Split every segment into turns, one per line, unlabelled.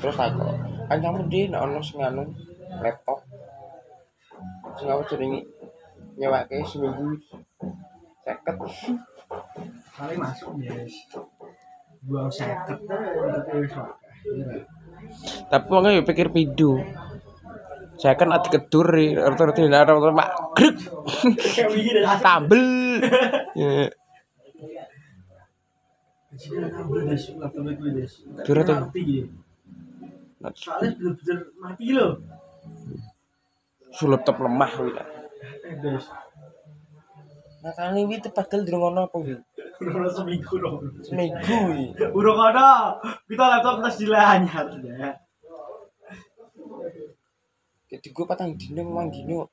terus aku kan kamu di ono sing anu laptop sing aku jenengi nyewake seminggu 50
kali masuk guys dua seket tapi wis akeh. Iya.
Tapi wong yo pikir pidu. Saya kan ati kedur rata-rata dilarang terus mak grek
Kayak begini dah.
tambel. Ya,
Di sini ada kabel, guys. Laptop itu, guys. Nggak
Turut, tuh.
ngerti, gitu.
nah,
soalnya bener-bener mati loh
Sulap tep lemah kuwi. lah.
eh guys
nah kali ini tuh padahal durung ono apa iki
udah seminggu dong
seminggu iki
udah kada kita laptop kita dilanyar ya
jadi gue patang dino memang dino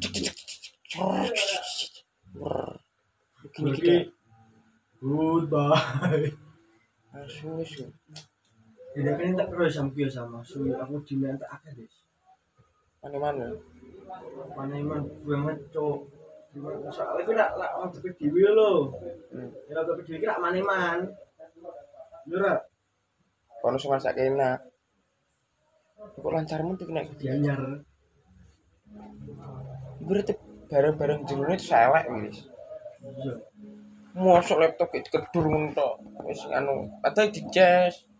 gini
Oke.
gini
goodbye
langsung wis yo.
jadi kan tak terus sama kio sama suwi aku diminta akeh guys
mana mana
mana emang gue ngecok Gimana? soalnya gue nak nak orang tapi dewi lo
Hmm.
ya tapi dewi kira mana man Yura,
kono sing masak enak kok lancarmu tuh kena gede
dianyar.
berarti barang-barang jerone itu selek wis
Iya.
mosok laptop kayak kedur ngono tok wis anu padahal di cas